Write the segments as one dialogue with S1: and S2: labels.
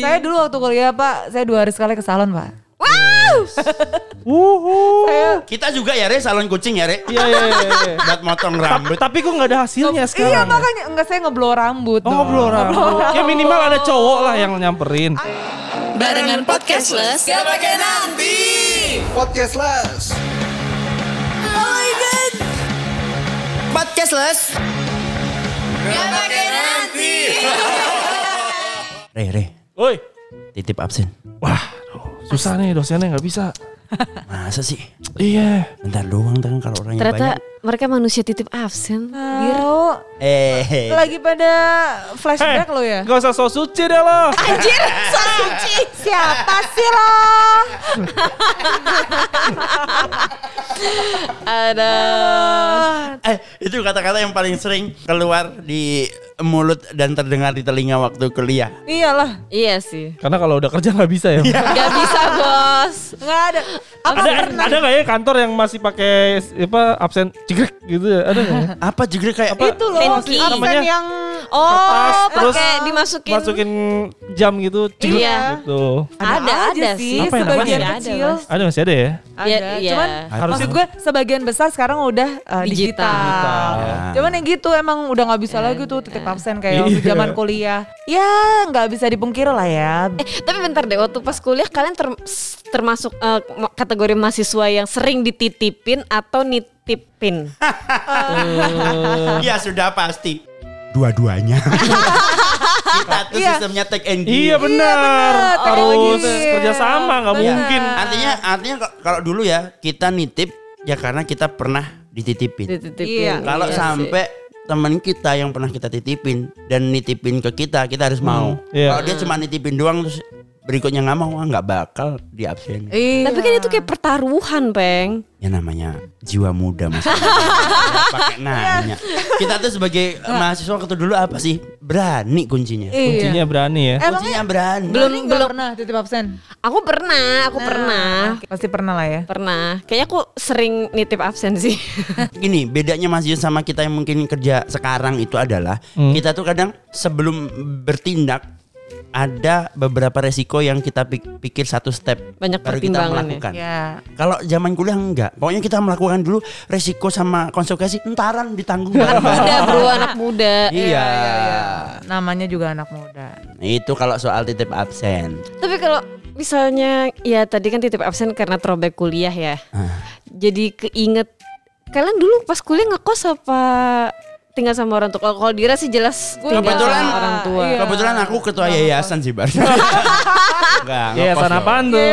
S1: Saya dulu waktu kuliah pak, saya dua hari sekali ke salon pak.
S2: Wuhu.
S3: Kita juga ya Re, salon kucing ya Re.
S2: Iya, iya, iya, iya.
S3: Buat motong rambut.
S2: Tapi kok nggak ada hasilnya sekarang? ya?
S1: Iya makanya enggak saya ngeblow rambut.
S2: Oh,
S1: dong.
S2: ngobrol orang.
S1: rambut.
S2: Ya minimal ada cowok lah yang nyamperin.
S4: Barengan podcastless Gak pakai nanti
S5: Podcastless.
S4: Oh my god
S3: Podcastless.
S4: Gak pakai nanti
S3: Eh, Re, Re,
S2: Woi,
S3: titip absen.
S2: susah nih dosennya nggak bisa.
S3: Masa sih?
S2: Iya.
S3: Bentar doang kan kalau orangnya
S6: Ternyata
S3: banyak.
S6: mereka manusia titip absen. Biar
S1: Biro
S3: Eh, hey.
S1: lagi pada flashback
S2: Eh,
S1: lo ya.
S2: Gak usah sok suci deh lo.
S6: anjir, so suci.
S1: Siapa sih lo?
S6: Ada.
S3: eh, itu kata-kata yang paling sering keluar di mulut dan terdengar di telinga waktu kuliah.
S1: Iyalah,
S6: Iya sih.
S2: Karena kalau udah kerja nggak bisa ya.
S6: Gak bisa bos.
S1: nggak ada. Apa
S2: Ada
S1: pernah?
S2: ada nggak ya kantor yang masih pakai apa absen cigrek gitu ya? Ada nggak? ya?
S3: Apa juga kayak apa?
S1: Itu loh,
S6: Penki.
S1: absen
S2: Namanya?
S1: yang
S2: Kertas,
S6: Oh,
S2: terus
S6: pakai dimasukin.
S2: Masukin jam gitu, cigrek
S6: Iya.
S2: gitu.
S6: Ada,
S1: aja
S6: ada
S1: sih,
S6: sih.
S2: Apa ya, yang
S1: sebagian
S6: namanya?
S1: kecil.
S6: Ada, Mas.
S2: Ada masih ada ya?
S1: Ada,
S6: Iya, iya.
S1: cuman
S3: Harusnya-
S1: maksud gue sebagian besar sekarang udah uh, digital.
S6: Digital. Iya,
S3: Ya.
S1: Cuman yang gitu emang udah nggak bisa lagi tuh titip absen kayak waktu
S2: Iya.
S1: zaman kuliah. Ya nggak bisa dipungkiri lah ya.
S6: Eh, tapi bentar deh, waktu pas kuliah kalian ter- s- termasuk eh, ma- kategori mahasiswa yang sering dititipin atau nitipin?
S3: Ya sudah pasti. Dua-duanya. Kita tuh
S1: Iya.
S3: sistemnya take and give.
S2: Iya benar.
S1: benar. Pakai
S2: Harus
S1: lagi.
S2: kerjasama nggak
S1: Benar.
S2: mungkin.
S3: Iya. Artinya artinya kok- kalau dulu ya kita nitip ya karena kita pernah dititipin.
S1: Iya.
S6: Dititipin.
S3: Kalau
S6: Iya
S3: sampai teman kita yang pernah kita titipin dan nitipin ke kita, kita harus
S1: Hmm,
S3: mau.
S2: iya.
S3: Kalau dia cuma nitipin doang terus berikutnya nggak mau, wah nggak bakal di absen.
S1: Iya.
S6: sih. Tapi kan itu kayak pertaruhan, Peng.
S3: Ya namanya jiwa muda mas. Nggak Pakai nanya. Kita tuh sebagai eh, mahasiswa waktu dulu apa sih? Berani kuncinya.
S1: Iya.
S2: Kuncinya berani ya.
S1: Emangnya
S3: Kuncinya berani.
S1: belum belum pernah titip absen. Ah,
S6: Aku pernah,
S1: Nah.
S6: aku pernah.
S1: Oke, Pasti pernah lah ya.
S6: Pernah. Kayaknya aku sering nitip absen sih.
S3: Gini bedanya Mas Yus sama kita yang mungkin kerja sekarang itu adalah
S2: Hmm.
S3: kita tuh kadang sebelum bertindak ada beberapa resiko yang kita pik- pikir satu step
S6: Banyak
S3: baru kita
S6: pertimbangan ya.
S3: melakukan.
S1: Ya.
S3: Kalau zaman kuliah enggak, pokoknya kita melakukan dulu resiko sama konsekuensi entaran ditanggung bareng-bareng.
S6: Udah bro, anak muda.
S3: iya.
S1: Namanya juga anak muda.
S6: iya.
S3: Itu kalau soal titip absen.
S6: Tapi kalau misalnya ya tadi kan titip absen karena throwback kuliah ya. Jadi keinget kalian dulu pas kuliah ngekos apa tinggal sama orang tua? Kalau kalau Dira sih jelas tinggal
S3: Kebetulan-
S6: sama orang tua.
S1: Iya.
S3: Kebetulan aku ketua
S6: Iya.
S3: yayasan sih Bar. Enggak,
S2: Iya,
S3: ngekos
S2: sana
S3: loh.
S2: apaan tuh?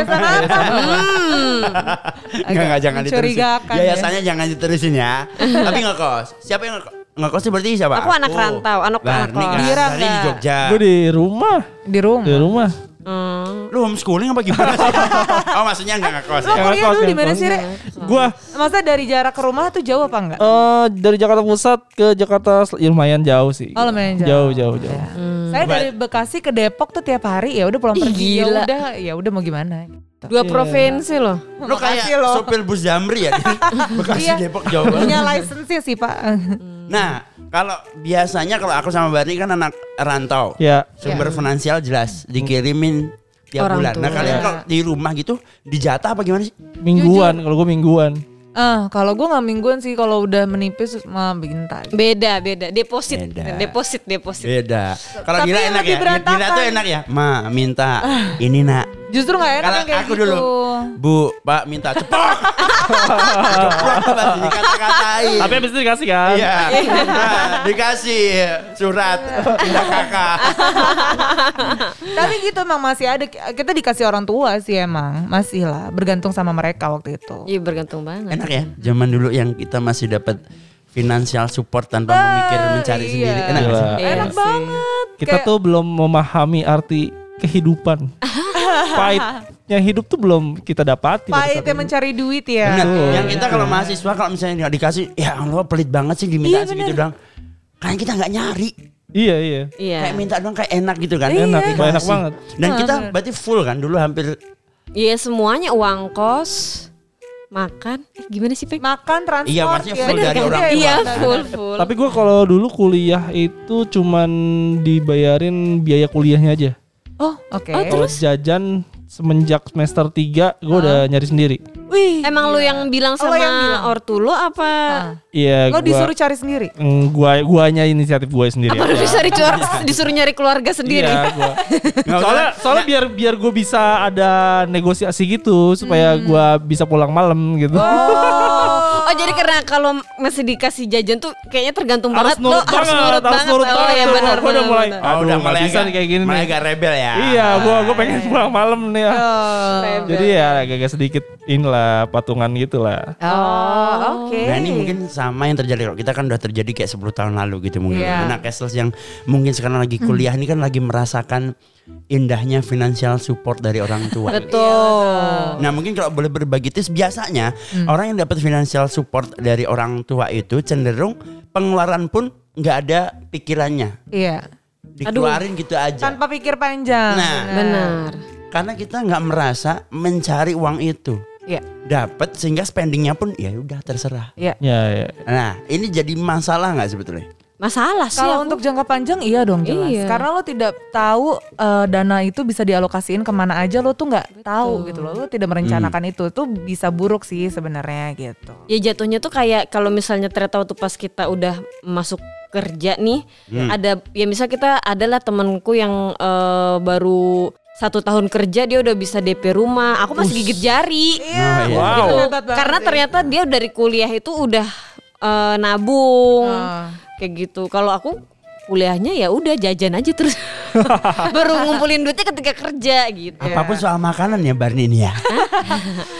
S6: Hmm.
S3: Enggak, enggak, jangan diterusin.
S1: mencurigakan ya.
S3: Yayasannya jangan diterusin ya. Tapi ngekos. Siapa yang ngekos? Ngekos sih berarti siapa?
S6: Aku anak rantau, anak- anak
S3: Barney
S6: kos.
S3: kan?
S1: Dira
S3: Barney di
S1: enggak?
S3: Jogja.
S2: Gue di rumah.
S1: Di
S2: Di
S1: rumah.
S2: rumah.
S6: Hmm.
S3: Lu homeschooling apa gimana sih? oh, maksudnya enggak ngekos
S1: Lo
S2: Yang
S3: ya?
S1: kuliah
S2: ngekos,
S1: dulu
S2: yang
S1: di mana
S2: ngekos.
S1: sih, Re?
S2: Gua
S1: Masa dari jarak ke rumah tuh jauh apa enggak?
S2: eh dari Jakarta Pusat ke Jakarta Sel- ya, lumayan jauh sih.
S1: Oh, lumayan
S2: Jauh
S1: jauh.
S2: jauh jauh.
S1: Ya. Saya dari Bekasi ke Depok tuh tiap hari ya udah pulang
S6: Hmm. Ih,
S1: pergi. Ya
S6: gila.
S1: udah, ya udah mau gimana?
S6: Dua provinsi loh.
S3: Lu kayak
S1: Makasih lo.
S3: sopir bus Zamri ya? Bekasi
S1: Iya.
S3: Depok Jawa Barat.
S1: Punya lisensi sih, Pak.
S3: Nah, kalau biasanya kalau aku sama Barney kan anak rantau.
S2: Ya.
S3: Sumber finansial jelas dikirimin tiap
S6: Iya. Orang
S3: bulan. Nah,
S6: tua.
S3: kalian kalau di rumah gitu dijatah apa gimana sih?
S2: Mingguan kalau gue mingguan.
S1: Ah, kalau gue nggak mingguan sih kalau udah menipis mah bikin tadi.
S6: Beda, beda. Deposit,
S3: Beda.
S6: deposit, deposit.
S3: Beda. Kalau
S1: Tapi
S3: Dira
S1: yang
S3: enak
S1: lebih
S3: ya. Dira
S1: berantakan.
S3: tuh enak ya. Ma minta ini nak.
S1: Justru nggak enak
S3: Kalau
S1: yang kayak
S3: aku
S1: gitu.
S3: dulu, Bu, Pak minta cepok. Cepok pasti dikata-katain.
S2: Tapi abis itu dikasih kan?
S3: Iya. Nah, dikasih surat pindah kakak.
S1: Tapi gitu emang masih ada kita dikasih orang tua sih emang masih lah bergantung sama mereka waktu itu.
S6: Iya bergantung banget.
S3: Enak ya. Zaman dulu yang kita masih dapat financial support tanpa memikir mencari
S1: Ah, iya.
S3: sendiri. Enak gak sih?
S2: Gila.
S6: Iya
S1: enak
S6: sih.
S1: banget.
S2: Kita
S1: Kayak-
S2: tuh belum memahami arti kehidupan. Pahitnya hidup tuh belum kita dapati. pada
S1: Pahit
S2: saat
S1: yang
S2: ini.
S1: mencari duit ya.
S3: Benar. Yang kita kalau mahasiswa kalau misalnya nggak dikasih, ya Allah pelit banget sih
S1: Iya,
S3: diminta segitu doang. Kan kita nggak nyari.
S2: Iya iya.
S6: Iya.
S3: Kayak minta doang kayak enak gitu kan.
S2: Enak,
S3: Dikasih.
S2: enak banget.
S3: Dan kita berarti full kan dulu hampir
S6: Iya semuanya uang kos, makan. Eh, gimana sih Peng?
S1: Makan Kan transport
S3: Iya, maksudnya full
S1: Bener
S3: dari
S1: kan?
S3: orang
S1: Iya,
S3: tua.
S6: Iya
S1: iya.
S6: full full.
S2: Tapi gue kalau dulu kuliah itu cuman dibayarin biaya kuliahnya aja.
S1: Oh, oke.
S6: Oh,
S2: Kalau jajan semenjak semester 3 gue udah nyari sendiri.
S1: Wih.
S6: Emang lu yang bilang
S1: Oh,
S6: sama
S1: yang bilang.
S6: ortu lo apa?
S1: Ah.
S2: Iya,
S1: Lo
S2: gua
S1: disuruh cari sendiri.
S2: Mm, gua guanya inisiatif gue sendiri.
S3: Iya.
S6: Apa lu bisa disuruh, disuruh nyari keluarga sendiri?
S2: Iya, gua.
S3: Nggak
S2: soalnya soalnya biar biar gue bisa ada negosiasi gitu supaya gua bisa pulang malam gitu.
S6: Hmm. Oh, oh, jadi karena kalau masih dikasih jajan tuh kayaknya tergantung
S2: Harus
S6: banget lo
S2: nurut
S6: harus
S2: banget, harus
S6: nurut banget.
S2: nurut
S6: oh
S2: banget
S6: ya
S2: tuh.
S6: benar
S2: Gua udah
S6: benar,
S2: mulai,
S6: benar. Oh,
S2: ah, Aduh, nggak bisa nih kayak gini
S3: Mulai
S2: nih.
S3: agak rebel ya.
S2: Iya, gua gua pengen pulang malam nih. ah.
S6: iya,
S1: Oh.
S2: Jadi ya agak-agak sedikit inilah patungan gitulah.
S1: Oh, oke.
S3: Nah ini mungkin sama yang terjadi kalau kita kan udah terjadi kayak 10 tahun lalu gitu mungkin.
S1: Iya.
S3: Anak cashless yang mungkin sekarang lagi kuliah ini kan lagi merasakan indahnya financial support dari orang tua.
S1: Oh,
S6: Betul.
S3: Nah mungkin kalau boleh berbagi tips biasanya orang yang dapat financial support dari orang tua itu cenderung pengeluaran pun nggak ada pikirannya
S1: Iya.
S3: dikeluarin gitu aja.
S1: Tanpa pikir panjang.
S3: Nah.
S2: Iya.
S6: Benar.
S3: Karena kita nggak merasa mencari uang itu
S1: Iya.
S3: dapat sehingga spendingnya pun ya udah terserah.
S1: Iya.
S2: Ya, ya.
S3: Nah ini jadi masalah nggak sebetulnya?
S6: Masalah sih
S1: Kalau
S6: aku.
S1: untuk jangka panjang iya dong jelas.
S6: Iya.
S1: Karena lo tidak tahu eh, dana itu bisa dialokasiin kemana aja lo tuh nggak tahu gitu loh. Lo tidak merencanakan itu tuh bisa buruk sih sebenarnya gitu.
S6: Ya jatuhnya tuh kayak kalau misalnya ternyata waktu pas kita udah masuk kerja nih ada ya misal kita adalah temanku yang eh, baru satu tahun kerja dia udah bisa DP rumah aku masih gigit jari
S3: Nah, iya.
S2: Wow.
S1: Itu
S6: Tuh,
S1: hebat banget
S6: karena
S1: sih.
S6: ternyata dia dari kuliah itu udah eh, nabung
S1: Ah.
S6: kayak gitu kalau aku kuliahnya ya udah jajan aja terus baru ngumpulin duitnya ketika kerja gitu
S3: Apapun soal makanan ya Barney ini ya.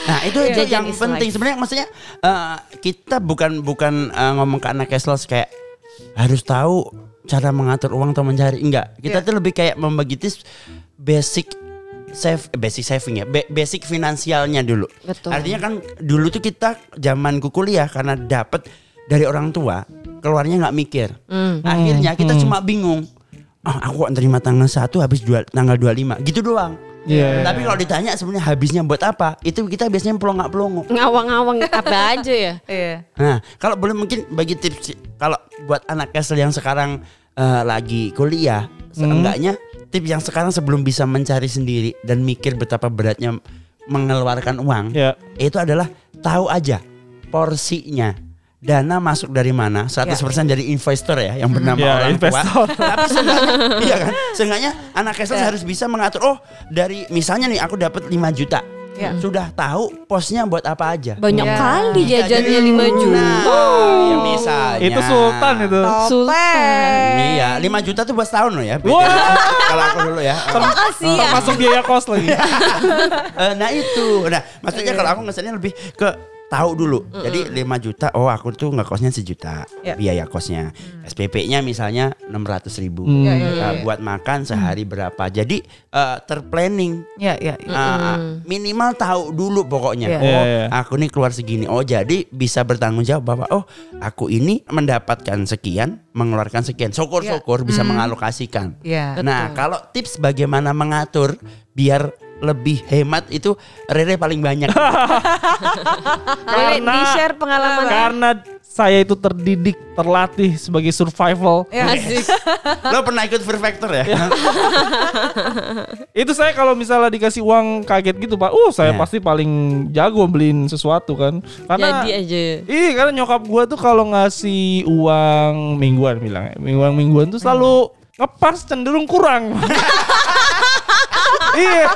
S3: nah itu itu yang
S6: Jajan is
S3: penting
S6: life.
S3: sebenarnya maksudnya eh, kita bukan bukan eh, ngomong ke anak cashless kayak harus tahu cara mengatur uang atau mencari enggak. Kita tuh lebih kayak membagi tips basic save eh, basic saving ya ba- basic finansialnya dulu.
S6: Betul.
S3: Artinya kan dulu tuh kita zamanku kuliah karena dapat dari orang tua keluarnya nggak mikir. Akhirnya kita cuma bingung. Ah, aku nerima tanggal 1 habis dua, tanggal 25 gitu doang.
S2: Iya.
S3: Tapi kalau ditanya sebenarnya habisnya buat apa? Itu kita biasanya pelongo pelongo.
S6: ngawang-ngawang apa aja ya
S1: Iya.
S3: Nah, kalau boleh mungkin bagi tips kalau buat anak kesel yang sekarang eh, lagi kuliah, seenggaknya tips yang sekarang sebelum bisa mencari sendiri dan mikir betapa beratnya mengeluarkan uang,
S2: Ya.
S3: itu adalah tahu aja porsinya. Dana masuk dari mana? 100% dari investor ya yang bernama
S2: Ya,
S3: orang
S2: investor.
S3: tua. Tapi seenggaknya, iya kan? Seenggaknya anak kesel harus bisa mengatur oh dari misalnya nih aku dapat 5 juta.
S1: Ya.
S3: Sudah tahu posnya buat apa aja.
S6: banyak
S1: Iya.
S6: kali jajannya
S3: Jadi,
S6: 5 juta
S3: Nah, ya misalnya.
S2: Itu sultan ya? itu.
S1: Topeng.
S3: Iya, 5 juta tuh buat setahun loh ya. beda.
S2: Wah.
S3: Kalau aku dulu ya.
S1: Ah,
S6: Kasihan.
S2: Termasuk biaya kos lagi.
S6: Iya,
S3: Eh, nah itu. Nah, maksudnya kalau aku ngeselnya lebih ke tahu dulu. Jadi 5 juta, oh aku tuh nggak kosnya sejuta
S1: Iya.
S3: biaya kosnya. SPP-nya misalnya 600 ribu. Nah,
S1: Iya, iya, iya.
S3: buat makan sehari berapa. Jadi eh, terplanning.
S1: Iya, iya. iya.
S2: Nah,
S3: Ah, minimal tahu dulu pokoknya.
S1: Iya.
S2: Iya,
S3: Oh,
S2: iya.
S3: aku nih keluar segini. Oh, jadi bisa bertanggung jawab bahwa oh, aku ini mendapatkan sekian, mengeluarkan sekian. Syukur-syukur
S1: Mm.
S3: bisa mengalokasikan.
S1: Iya.
S3: Nah, kalau tips bagaimana mengatur biar lebih hemat itu Rere paling banyak.
S6: Boleh
S2: Karena-
S6: di-share pengalaman
S2: Karena saya itu terdidik, terlatih sebagai survival.
S6: Eh.
S1: Iya.
S6: Asik.
S3: Lo pernah ikut Fear Factor ya?
S2: Itu saya kalau misalnya dikasih uang kaget gitu pak, uh saya
S3: Ya.
S2: pasti paling jago beliin sesuatu kan. Karena
S6: Jadi aja.
S2: Iya karena nyokap gua tuh kalau ngasih uang mingguan bilang ya. Mingguan mingguan tuh selalu ngepas cenderung kurang. iya.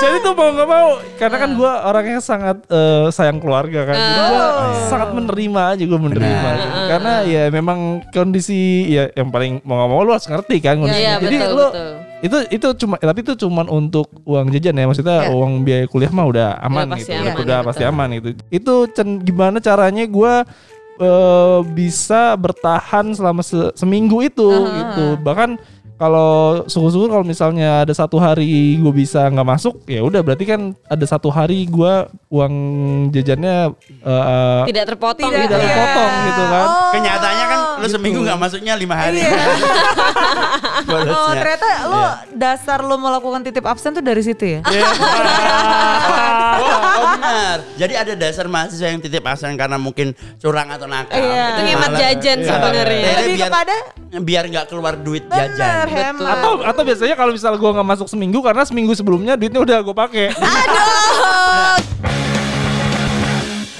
S2: Jadi tuh mau nggak mau karena kan gua orangnya sangat eh, sayang keluarga kan. Jadi gua
S6: Oh.
S2: sangat menerima aja gua menerima. gitu.
S6: Nah.
S2: Karena ya memang kondisi ya yang paling mau nggak mau lu harus ngerti kan kondisi.
S6: iya,
S2: Jadi
S6: betul,
S2: lu
S6: betul.
S2: itu itu cuma tapi itu cuman untuk uang jajan ya maksudnya uang biaya kuliah mah udah aman
S6: Iya. Udah
S2: gitu
S6: pasti
S2: udah,
S6: aman,
S2: udah
S6: betul.
S2: pasti aman gitu itu cen- gimana caranya gue bisa bertahan selama se- seminggu itu gitu bahkan kalau syukur-syukur kalau misalnya ada satu hari gue bisa nggak masuk ya udah berarti kan ada satu hari gue uang jajannya eh,
S6: Tidak terpotong
S1: Tidak,
S6: gitu.
S2: tidak
S1: iya.
S2: potong gitu kan.
S1: Oh.
S3: Kenyataannya kan lo seminggu nggak masuknya lima hari.
S1: Iya.
S3: Bolosnya.
S1: Oh
S3: Iya.
S1: ya? ternyata lo dasar lo melakukan titip absen tuh dari situ ya?
S2: Iya.
S3: oh, benar. Jadi ada dasar mahasiswa yang titip absen karena mungkin curang atau nakal. gitu.
S6: Iya. Itu ngemat
S3: malah-
S6: jajan
S3: Iya.
S6: sebenarnya.
S3: Tere
S1: Lebih
S3: biar,
S1: kepada-
S3: biar nggak keluar duit
S1: Bener,
S3: jajan.
S1: hemat.
S2: atau atau biasanya kalau misal gua nggak masuk seminggu karena seminggu sebelumnya duitnya udah gue pakai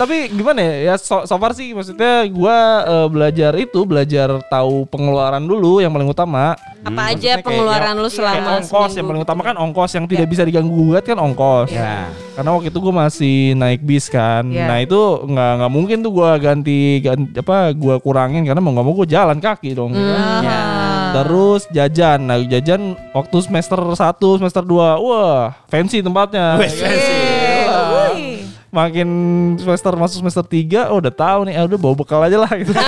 S2: tapi gimana ya ya so, so far sih maksudnya gua eh, belajar itu belajar tahu pengeluaran dulu yang paling utama
S6: Apa aja pengeluaran
S2: ya, iya,
S6: lu
S2: Kayak
S6: selama
S2: ongkos yang
S6: seminggu? gitu. Iya.
S2: paling utama kan ongkos yang tidak bisa diganggu gugat kan ongkos
S3: Ya.
S2: karena waktu itu gue masih naik bis kan
S1: Iya.
S2: nah itu nggak nggak mungkin tuh gua ganti, ganti apa gua kurangin karena mau nggak mau gue jalan kaki dong ya kan?
S6: Iya.
S3: Ya.
S2: Terus jajan. Nah, jajan waktu semester 1, semester 2. Wah, fancy tempatnya.
S3: Wes,
S1: Iya.
S3: fancy.
S2: Wah. Makin semester masuk semester 3, oh udah tahu nih, eh, udah bawa bekal aja lah gitu.
S6: Nah,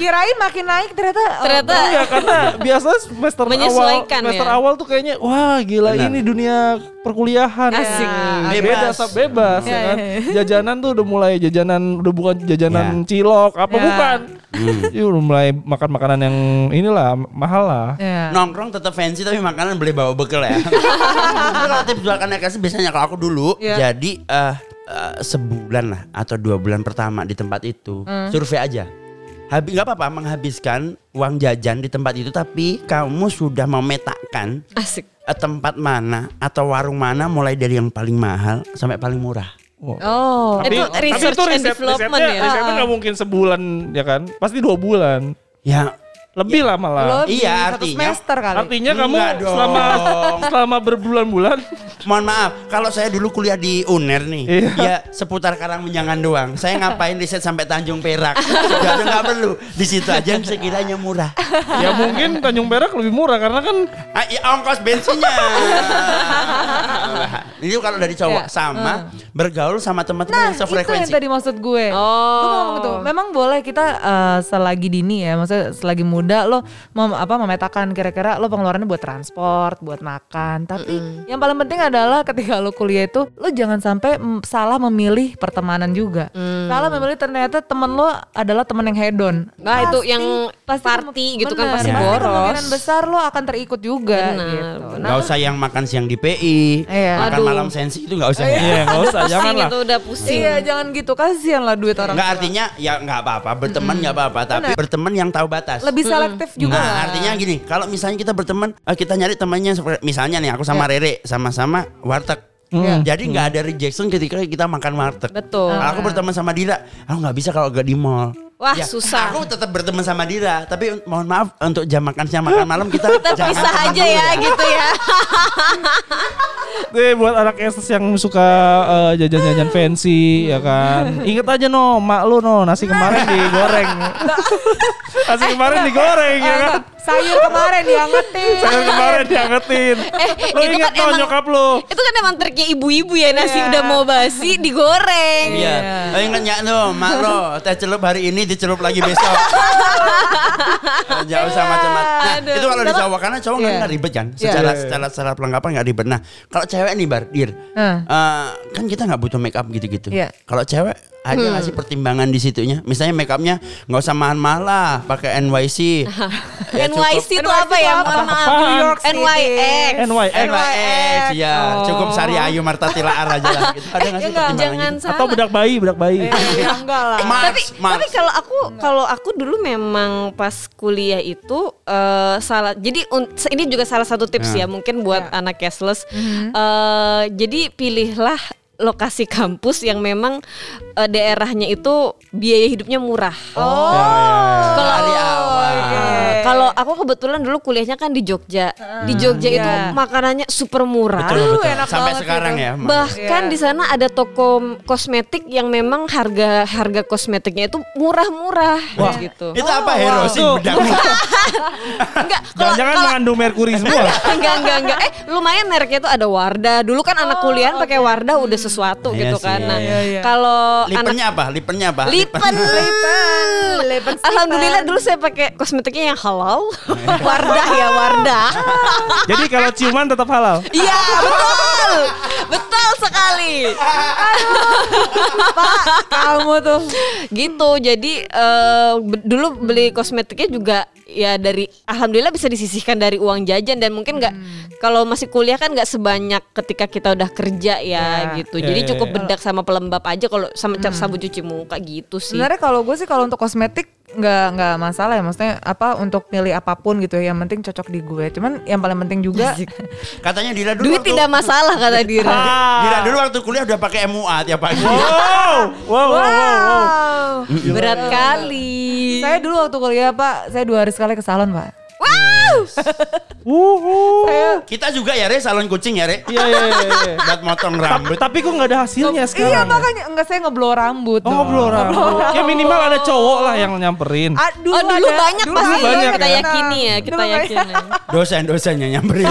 S1: Kirain makin naik ternyata oh,
S6: Ternyata
S2: Iya, karena biasanya semester awal
S6: Menyesuaikan
S2: semester
S6: ya.
S2: awal tuh kayaknya wah gila
S3: Benar.
S2: ini dunia perkuliahan.
S6: Asik.
S2: Ya,
S3: Bebas.
S2: Beda sab- bebas ya kan. Jajanan tuh udah mulai jajanan udah bukan jajanan
S3: Ya.
S2: cilok apa
S1: Ya.
S2: bukan.
S3: Hmm.
S2: Ya, udah mulai makan makanan yang inilah mahal lah.
S6: Ya.
S1: Iya.
S3: Nongkrong tetap fancy tapi makanan boleh bawa bekal ya. Itu kalau tips jual karena kasih biasanya kalau aku dulu
S6: Iya.
S3: jadi eh, eh, sebulan lah atau dua bulan pertama di tempat itu
S6: Hmm.
S3: survei aja. Habis nggak apa-apa menghabiskan uang jajan di tempat itu tapi kamu sudah memetakan
S6: asik.
S3: eh, tempat mana atau warung mana mulai dari yang paling mahal sampai paling murah.
S1: Oh.
S6: itu research and development
S2: risetnya-
S6: ya.
S2: risetnya nggak mungkin sebulan ya kan? Pasti dua bulan.
S3: Ya
S2: Lebih lah malah.
S1: Lo
S3: Iya,
S1: di satu
S3: artinya-
S1: semester kali.
S2: Artinya kamu
S3: Enggak dong.
S2: selama selama berbulan-bulan
S3: Mohon maaf, kalau saya dulu kuliah di UNER nih,
S2: Iya.
S3: ya seputar Karangmenyangan doang. Saya ngapain riset sampai Tanjung Perak? Sudah nggak perlu. Di situ aja yang sekiranya murah.
S2: ya mungkin Tanjung Perak lebih murah karena kan
S3: Ah, iya, ongkos bensinnya. Ini kalau dari cowok
S1: Iya.
S3: sama bergaul sama teman-teman
S1: Nah,
S3: yang
S1: itu yang
S3: sefrekuensi.
S1: tadi maksud gue.
S6: Oh.
S1: Lu ngomong tuh, memang boleh kita eh, selagi dini ya, maksudnya selagi muda lo mem, apa memetakan kira-kira lo pengeluarannya buat transport, buat makan. Tapi yang paling penting adalah ketika lo kuliah itu lo jangan sampai mm, salah memilih pertemanan juga.
S6: Mm.
S1: Salah memilih ternyata temen lo adalah temen yang hedon.
S6: Nah, itu yang party
S1: kemu-
S6: gitu kan,
S1: bener,
S6: pasti boros.
S1: kemungkinan besar lo akan terikut juga
S6: Benar,
S1: gitu. Nah,
S3: Gak usah yang makan siang di PI,
S1: Iya.
S3: makan
S6: Aduh.
S3: malam sensi itu nggak usah.
S2: ya nggak usah
S6: Pusing
S2: janganlah
S6: itu gitu, udah pusing.
S1: Iya, jangan gitu. Kasihan lah duit orang.
S3: Nggak artinya ya nggak apa-apa berteman nggak apa-apa, tapi berteman yang tahu batas.
S1: Lebih selektif juga.
S3: Nah,
S1: lah.
S3: artinya gini, kalau misalnya kita berteman, eh, kita nyari temannya seperti- misalnya nih aku sama
S6: Ya.
S3: Rere sama-sama warteg. Jadi nggak ada rejection ketika kita makan warteg.
S6: Hmm. Betul.
S3: Kalau aku berteman sama Dira, aku nggak bisa kalau gak di mall. Ya,
S6: Wah, susah.
S3: Aku tetap berteman sama Dira, tapi un- mohon maaf untuk jam makan siang makan malam kita jangan
S6: Terpisah
S3: teman
S6: aja
S3: dulu
S6: ya gitu ya.
S2: Nih, buat anak SS yang suka eh, jajan-jajan fancy ya kan inget aja no mak lu no nasi kemarin
S6: Nah.
S2: digoreng nasi
S6: Eh,
S2: kemarin digoreng
S1: Eh,
S2: ya kan
S1: enggak. sayur kemarin diangetin.
S2: Sayur kemarin diangetin
S6: Eh,
S2: Lu
S6: itu
S2: inget
S6: kan
S2: no
S6: emang-
S2: nyokap lu
S6: Itu kan emang triknya ibu-ibu ya nasi
S1: Iya.
S6: udah mau basi digoreng.
S3: Iya. Oh, ingat ya no, mak lo teh celup hari ini dicelup lagi besok. Eh, Jauh usah macam-macam. Nah,
S6: aduh.
S3: itu kalau di cowok karena cowok nggak
S1: Iya.
S3: nggak ribet kan. Secara
S2: Iya.
S3: secara secara perlengkapan nggak ribet. Nah, kalau cewek nih Bar, Dir.
S1: Heeh.
S3: eh, kan kita nggak butuh make up gitu-gitu.
S1: Iya. Hmm.
S3: Kalau cewek ada nggak sih pertimbangan di situnya? Misalnya make upnya nggak usah mahal-mahal lah, pakai NYC. Ya, cukup.
S6: NYC itu apa ya? Mohon maaf.
S2: Apaan?
S6: New York City. NYX.
S2: NYX
S3: NYX ya,
S1: Oh.
S3: cukup Sari Ayu Martatilaar aja lah. Gitu. Ada nggak sih
S6: Enggak,
S3: pertimbangan
S6: Ya jangan
S3: gitu?
S6: salah.
S2: atau budak bayi budak bayi
S6: Eh,
S1: Ya, enggak lah.
S3: Mars,
S6: tapi tapi
S3: Mars.
S6: kalau aku kalau aku dulu memang pas kuliah itu eh, salah jadi un- ini juga salah satu tips ya mungkin buat anak cashless Eh, jadi pilihlah lokasi kampus yang memang eh, daerahnya itu biaya hidupnya murah oh kalau
S3: Ya, Dari awal.
S6: kalau aku kebetulan dulu kuliahnya kan di Jogja di Jogja itu makanannya super murah
S3: Betul, betul.
S1: enak
S3: Sampai
S1: banget gitu.
S3: sekarang
S1: itu.
S3: ya. Mak.
S6: Bahkan
S1: Iya.
S6: di sana ada toko kosmetik yang memang harga harga kosmetiknya itu murah-murah gitu.
S3: Itu apa hero sih
S2: Tuh.
S3: bedak?
S6: Enggak, kalau
S2: jangan-jangan mengandung merkuri semua
S6: enggak enggak enggak eh lumayan mereknya tuh ada Wardah. Dulu kan
S1: Oh,
S6: anak kuliahan pakai Wardah udah sesuatu
S3: Iya
S6: gitu
S3: sih,
S6: kan.
S3: iya,
S6: Nah,
S3: iya,
S6: kalau anak
S3: Lipennya apa? Lipennya apa?
S6: Lipen.
S1: Lipen Steven.
S6: Alhamdulillah dulu saya pakai kosmetiknya yang halal. Wardah ya, Wardah.
S2: jadi kalau ciuman tetap halal
S6: Iya, betul. Betul sekali.
S1: Kamu tuh.
S6: gitu jadi eh, be- dulu beli kosmetiknya juga ya dari alhamdulillah bisa disisihkan dari uang jajan dan mungkin nggak
S1: Hmm.
S6: kalau masih kuliah kan nggak sebanyak ketika kita udah kerja ya,
S1: Ya. Hmm.
S6: gitu.
S2: Ya,
S6: Jadi
S2: ya,
S6: cukup
S2: ya.
S6: bedak sama pelembab aja kalau sama cap sabun cuci muka gitu sih.
S1: Sebenarnya kalau gue sih kalau untuk kosmetik nggak nggak masalah ya maksudnya apa untuk milih apapun gitu ya yang penting cocok di gue cuman yang paling penting juga
S3: Katanya Dira dulu
S6: Duit
S3: waktu-
S6: tidak masalah kata Dira.
S3: Dira dulu waktu kuliah udah pakai MUA tiap pagi.
S2: Ah. Oh. wow, wow, wow,
S6: Iya.
S2: wow.
S1: wow
S6: Berat kali.
S1: Iya. saya dulu waktu kuliah pak saya dua hari sekali ke salon pak
S2: Wuhu.
S1: saya
S3: Kita juga ya Re, salon kucing ya Re.
S2: Iya, iya, iya, iya.
S3: Buat motong rambut.
S2: Tapi kok nggak ada hasilnya sekarang?
S1: iya
S2: ya?
S1: makanya enggak saya ngeblow rambut
S2: Oh, ngobrol orang. Ya minimal ada cowok lah yang nyamperin.
S1: Ah, dulu,
S6: oh dulu
S1: ada-
S6: banyak pasti
S1: ada,
S2: banyak
S6: kita
S2: ya.
S6: yakini ya,
S1: Dulu
S6: kita
S1: banyak.
S6: yakini.
S3: dosen-dosennya nyamperin.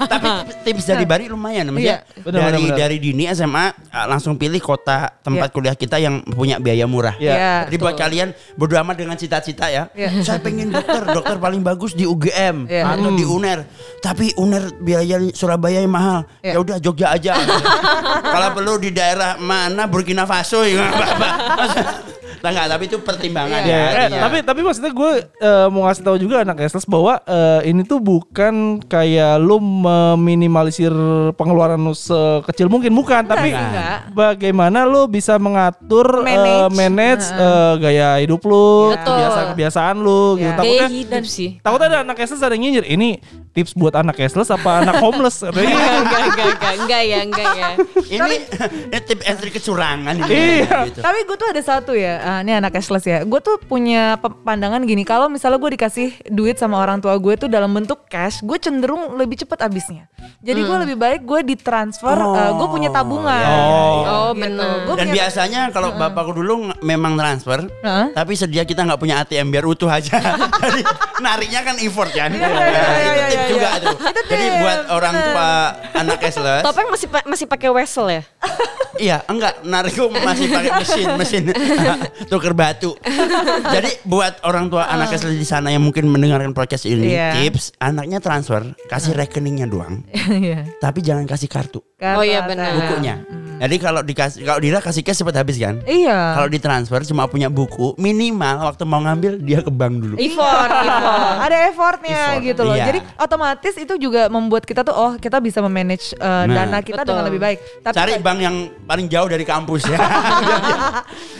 S3: Tapi tips dari Bari lumayan namanya.
S2: Iya, benar, benar,
S3: dari
S2: benar.
S3: dari dini SMA ah, langsung pilih kota tempat
S1: Iya.
S3: kuliah kita yang punya biaya murah.
S2: Iya.
S1: Iya.
S3: Jadi buat kalian bodo amat dengan cita-cita ya.
S1: Iya.
S3: Saya pengen dokter, dokter paling bagus di UGM
S1: Iya.
S3: atau
S2: Hmm.
S3: di UNER. Tapi UNER biaya Surabaya yang mahal.
S1: Iya.
S3: Ya udah Jogja aja. Kalau perlu di daerah mana Burkina Faso ya nggak apa-apa. Nah, enggak, tapi itu
S1: Iya,
S3: pertimbangan
S2: Ya,
S3: ya.
S2: eh,
S3: artinya.
S2: tapi tapi maksudnya gue eh, mau ngasih tahu juga anak Estes bahwa eh, ini tuh bukan kayak lu meminimalisir pengeluaran lu sekecil mungkin bukan, tapi
S1: enggak.
S2: bagaimana lu bisa mengatur
S1: Manage.
S2: eh, manage, eh, gaya hidup lu,
S6: Betul. Iya.
S2: kebiasaan kebiasaan lu gitu.
S1: Ya.
S6: Gaya
S2: Takutnya
S6: hidup sih.
S2: takutnya ada anak Estes ada yang nyinyir. Ini tips buat anak Estes apa anak homeless? Katanya. gitu.
S6: Iya, Enggak, enggak, enggak, enggak ya, enggak ya.
S3: ini, ini tip and trick kecurangan ini.
S2: Iya.
S3: Gitu.
S1: Tapi gue tuh ada satu ya, ah, ini anak cashless ya. Gue tuh punya pe- pandangan gini, kalau misalnya gue dikasih duit sama orang tua gue tuh dalam bentuk cash, gue cenderung lebih cepet habisnya. Jadi gue lebih baik gue ditransfer, eh, gue punya tabungan.
S6: Oh,
S1: Gitu.
S6: benar.
S1: Gue
S3: Dan
S1: punya-
S3: biasanya kalau bapakku dulu ng- memang transfer,
S1: Heeh.
S3: tapi sedia kita nggak punya ATM biar utuh aja. Jadi nariknya kan effort kan.
S1: Iya, iya,
S3: Nah,
S1: iya,
S3: itu
S1: iya,
S3: tip
S1: iya.
S3: juga tuh.
S1: Itu
S3: Jadi
S1: tip,
S3: buat orang
S1: bener.
S3: tua anak cashless,
S6: Topeng masih pa- masih pakai wesel ya?
S3: iya enggak narikku masih pakai mesin mesin tuker batu. Jadi buat orang tua anak cashless di sana yang mungkin mendengarkan podcast ini,
S1: Iya.
S3: tips anaknya transfer, kasih rekeningnya doang,
S1: Iya.
S3: tapi jangan kasih kartu
S1: Kan,
S6: Oh, iya,
S1: Pak,
S6: benar.
S1: kan.
S3: bukunya. Jadi kalau dikasih kalau Dira kasih cash cepet habis kan?
S1: Iya.
S3: Kalau ditransfer cuma punya buku, minimal waktu mau ngambil dia ke bank dulu.
S1: Iya,
S6: Effort, effort.
S1: ada effortnya
S3: Effort,
S1: gitu loh.
S3: iya.
S1: Jadi otomatis itu juga membuat kita tuh oh kita bisa memanage eh,
S3: Nah.
S1: dana kita
S6: Betul.
S1: dengan lebih baik. Tapi kan-
S3: Cari bank yang paling jauh dari kampus ya.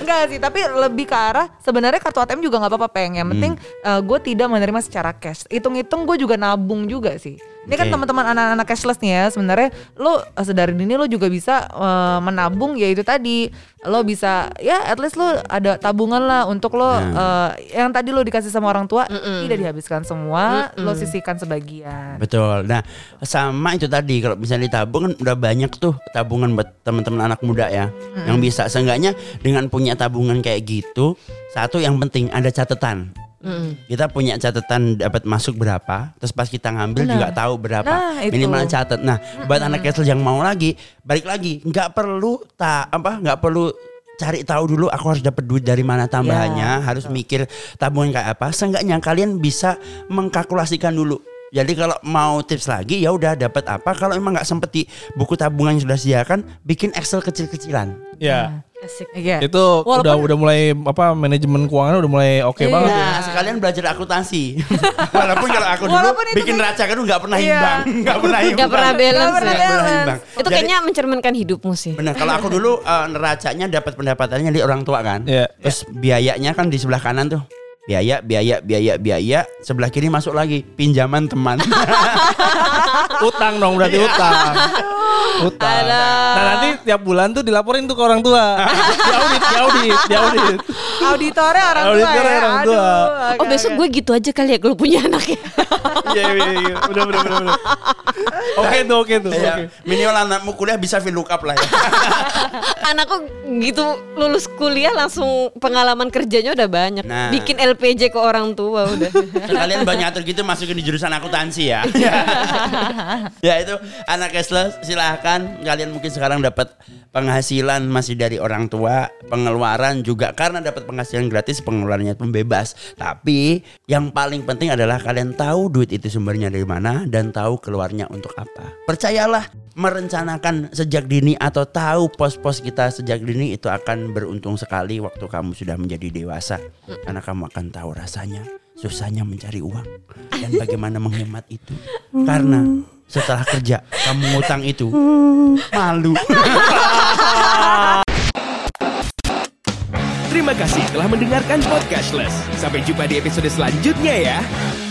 S1: Enggak sih, tapi lebih ke arah sebenarnya kartu ATM juga nggak apa-apa peng. Yang penting
S2: Hmm.
S1: eh, gue tidak menerima secara cash. Hitung-hitung gue juga nabung juga sih. Ini kan
S3: Oke.
S1: teman-teman anak-anak cashless nih ya. Sebenarnya lo eh, sedari dini lo juga bisa eh, menabung ya itu tadi. Lo bisa ya at least lo ada tabungan lah untuk lo
S2: Hmm.
S1: eh, yang tadi lo dikasih sama orang tua tidak dihabiskan semua, lo sisihkan sebagian.
S3: Betul. Nah, sama itu tadi kalau misalnya ditabung kan udah banyak tuh tabungan buat teman-teman anak muda ya. Yang bisa seenggaknya dengan punya tabungan kayak gitu, satu yang penting ada catatan.
S1: Mm.
S3: Kita punya catatan dapat masuk berapa, terus pas kita ngambil juga tahu berapa.
S1: Nah, itu.
S3: Minimal catat. Nah, buat anak kesel yang mau lagi, balik lagi, nggak perlu tak apa, nggak perlu cari tahu dulu aku harus dapat duit dari mana tambahannya,
S6: Iya,
S3: harus mikir tabungan kayak apa. Seenggaknya kalian bisa mengkalkulasikan dulu. Jadi kalau mau tips lagi ya udah dapat apa. Kalau emang nggak sempet di buku tabungan yang sudah sediakan, bikin Excel kecil-kecilan.
S2: Ya.
S6: Asik.
S1: Iya.
S2: Itu udah udah mulai apa manajemen keuangan udah mulai oke
S6: Iya.
S2: banget. ya.
S3: Nah, sekalian belajar akuntansi. Walaupun kalau aku dulu
S1: Walaupun itu
S3: bikin
S1: kayak-
S3: neraca kan nggak pernah
S1: Iya.
S3: imbang, nggak pernah imbang.
S6: Nggak pernah balance
S1: Nggak
S6: ya.
S1: pernah balance.
S6: Itu
S3: Jadi-
S6: kayaknya mencerminkan hidupmu sih.
S3: Benar, kalau aku dulu eh, neracanya dapat pendapatannya dari orang tua kan.
S2: Iya.
S3: Terus biayanya kan di sebelah kanan tuh. Biaya, biaya, biaya, biaya. Sebelah kiri masuk lagi pinjaman teman.
S2: utang dong berarti utang. utang. Nah nanti tiap bulan tuh dilaporin tuh ke orang tua. diaudit, diaudit, diaudit.
S1: Auditornya orang tua ya.
S2: Auditornya orang tua.
S1: Aduh,
S6: Oh
S1: oke,
S6: besok
S1: oke.
S6: gue gitu aja kali ya kalau punya anak ya.
S2: Iya iya iya, udah udah udah. udah. Oke tuh, oke tuh.
S3: Iya.
S2: oke.
S3: Minimal anakmu kuliah bisa fill up lah ya.
S6: Anakku gitu lulus kuliah langsung pengalaman kerjanya udah banyak.
S3: Nah.
S6: Bikin LPJ ke orang tua udah.
S3: Kalian banyak atur gitu masukin di jurusan akuntansi ya. ya itu anak cashless silahkan kalian mungkin sekarang dapat penghasilan masih dari orang tua, pengeluaran juga karena dapat penghasilan gratis pengeluarannya pun bebas. Tapi yang paling penting adalah kalian tahu duit itu sumbernya dari mana dan tahu keluarnya untuk apa. Percayalah merencanakan sejak dini atau tahu pos-pos kita sejak dini itu akan beruntung sekali waktu kamu sudah menjadi dewasa karena kamu akan tahu rasanya susahnya mencari uang dan bagaimana menghemat itu. Karena setelah kerja kamu ngutang itu malu.
S7: Terima kasih telah mendengarkan Podcastless. Sampai jumpa di episode selanjutnya ya.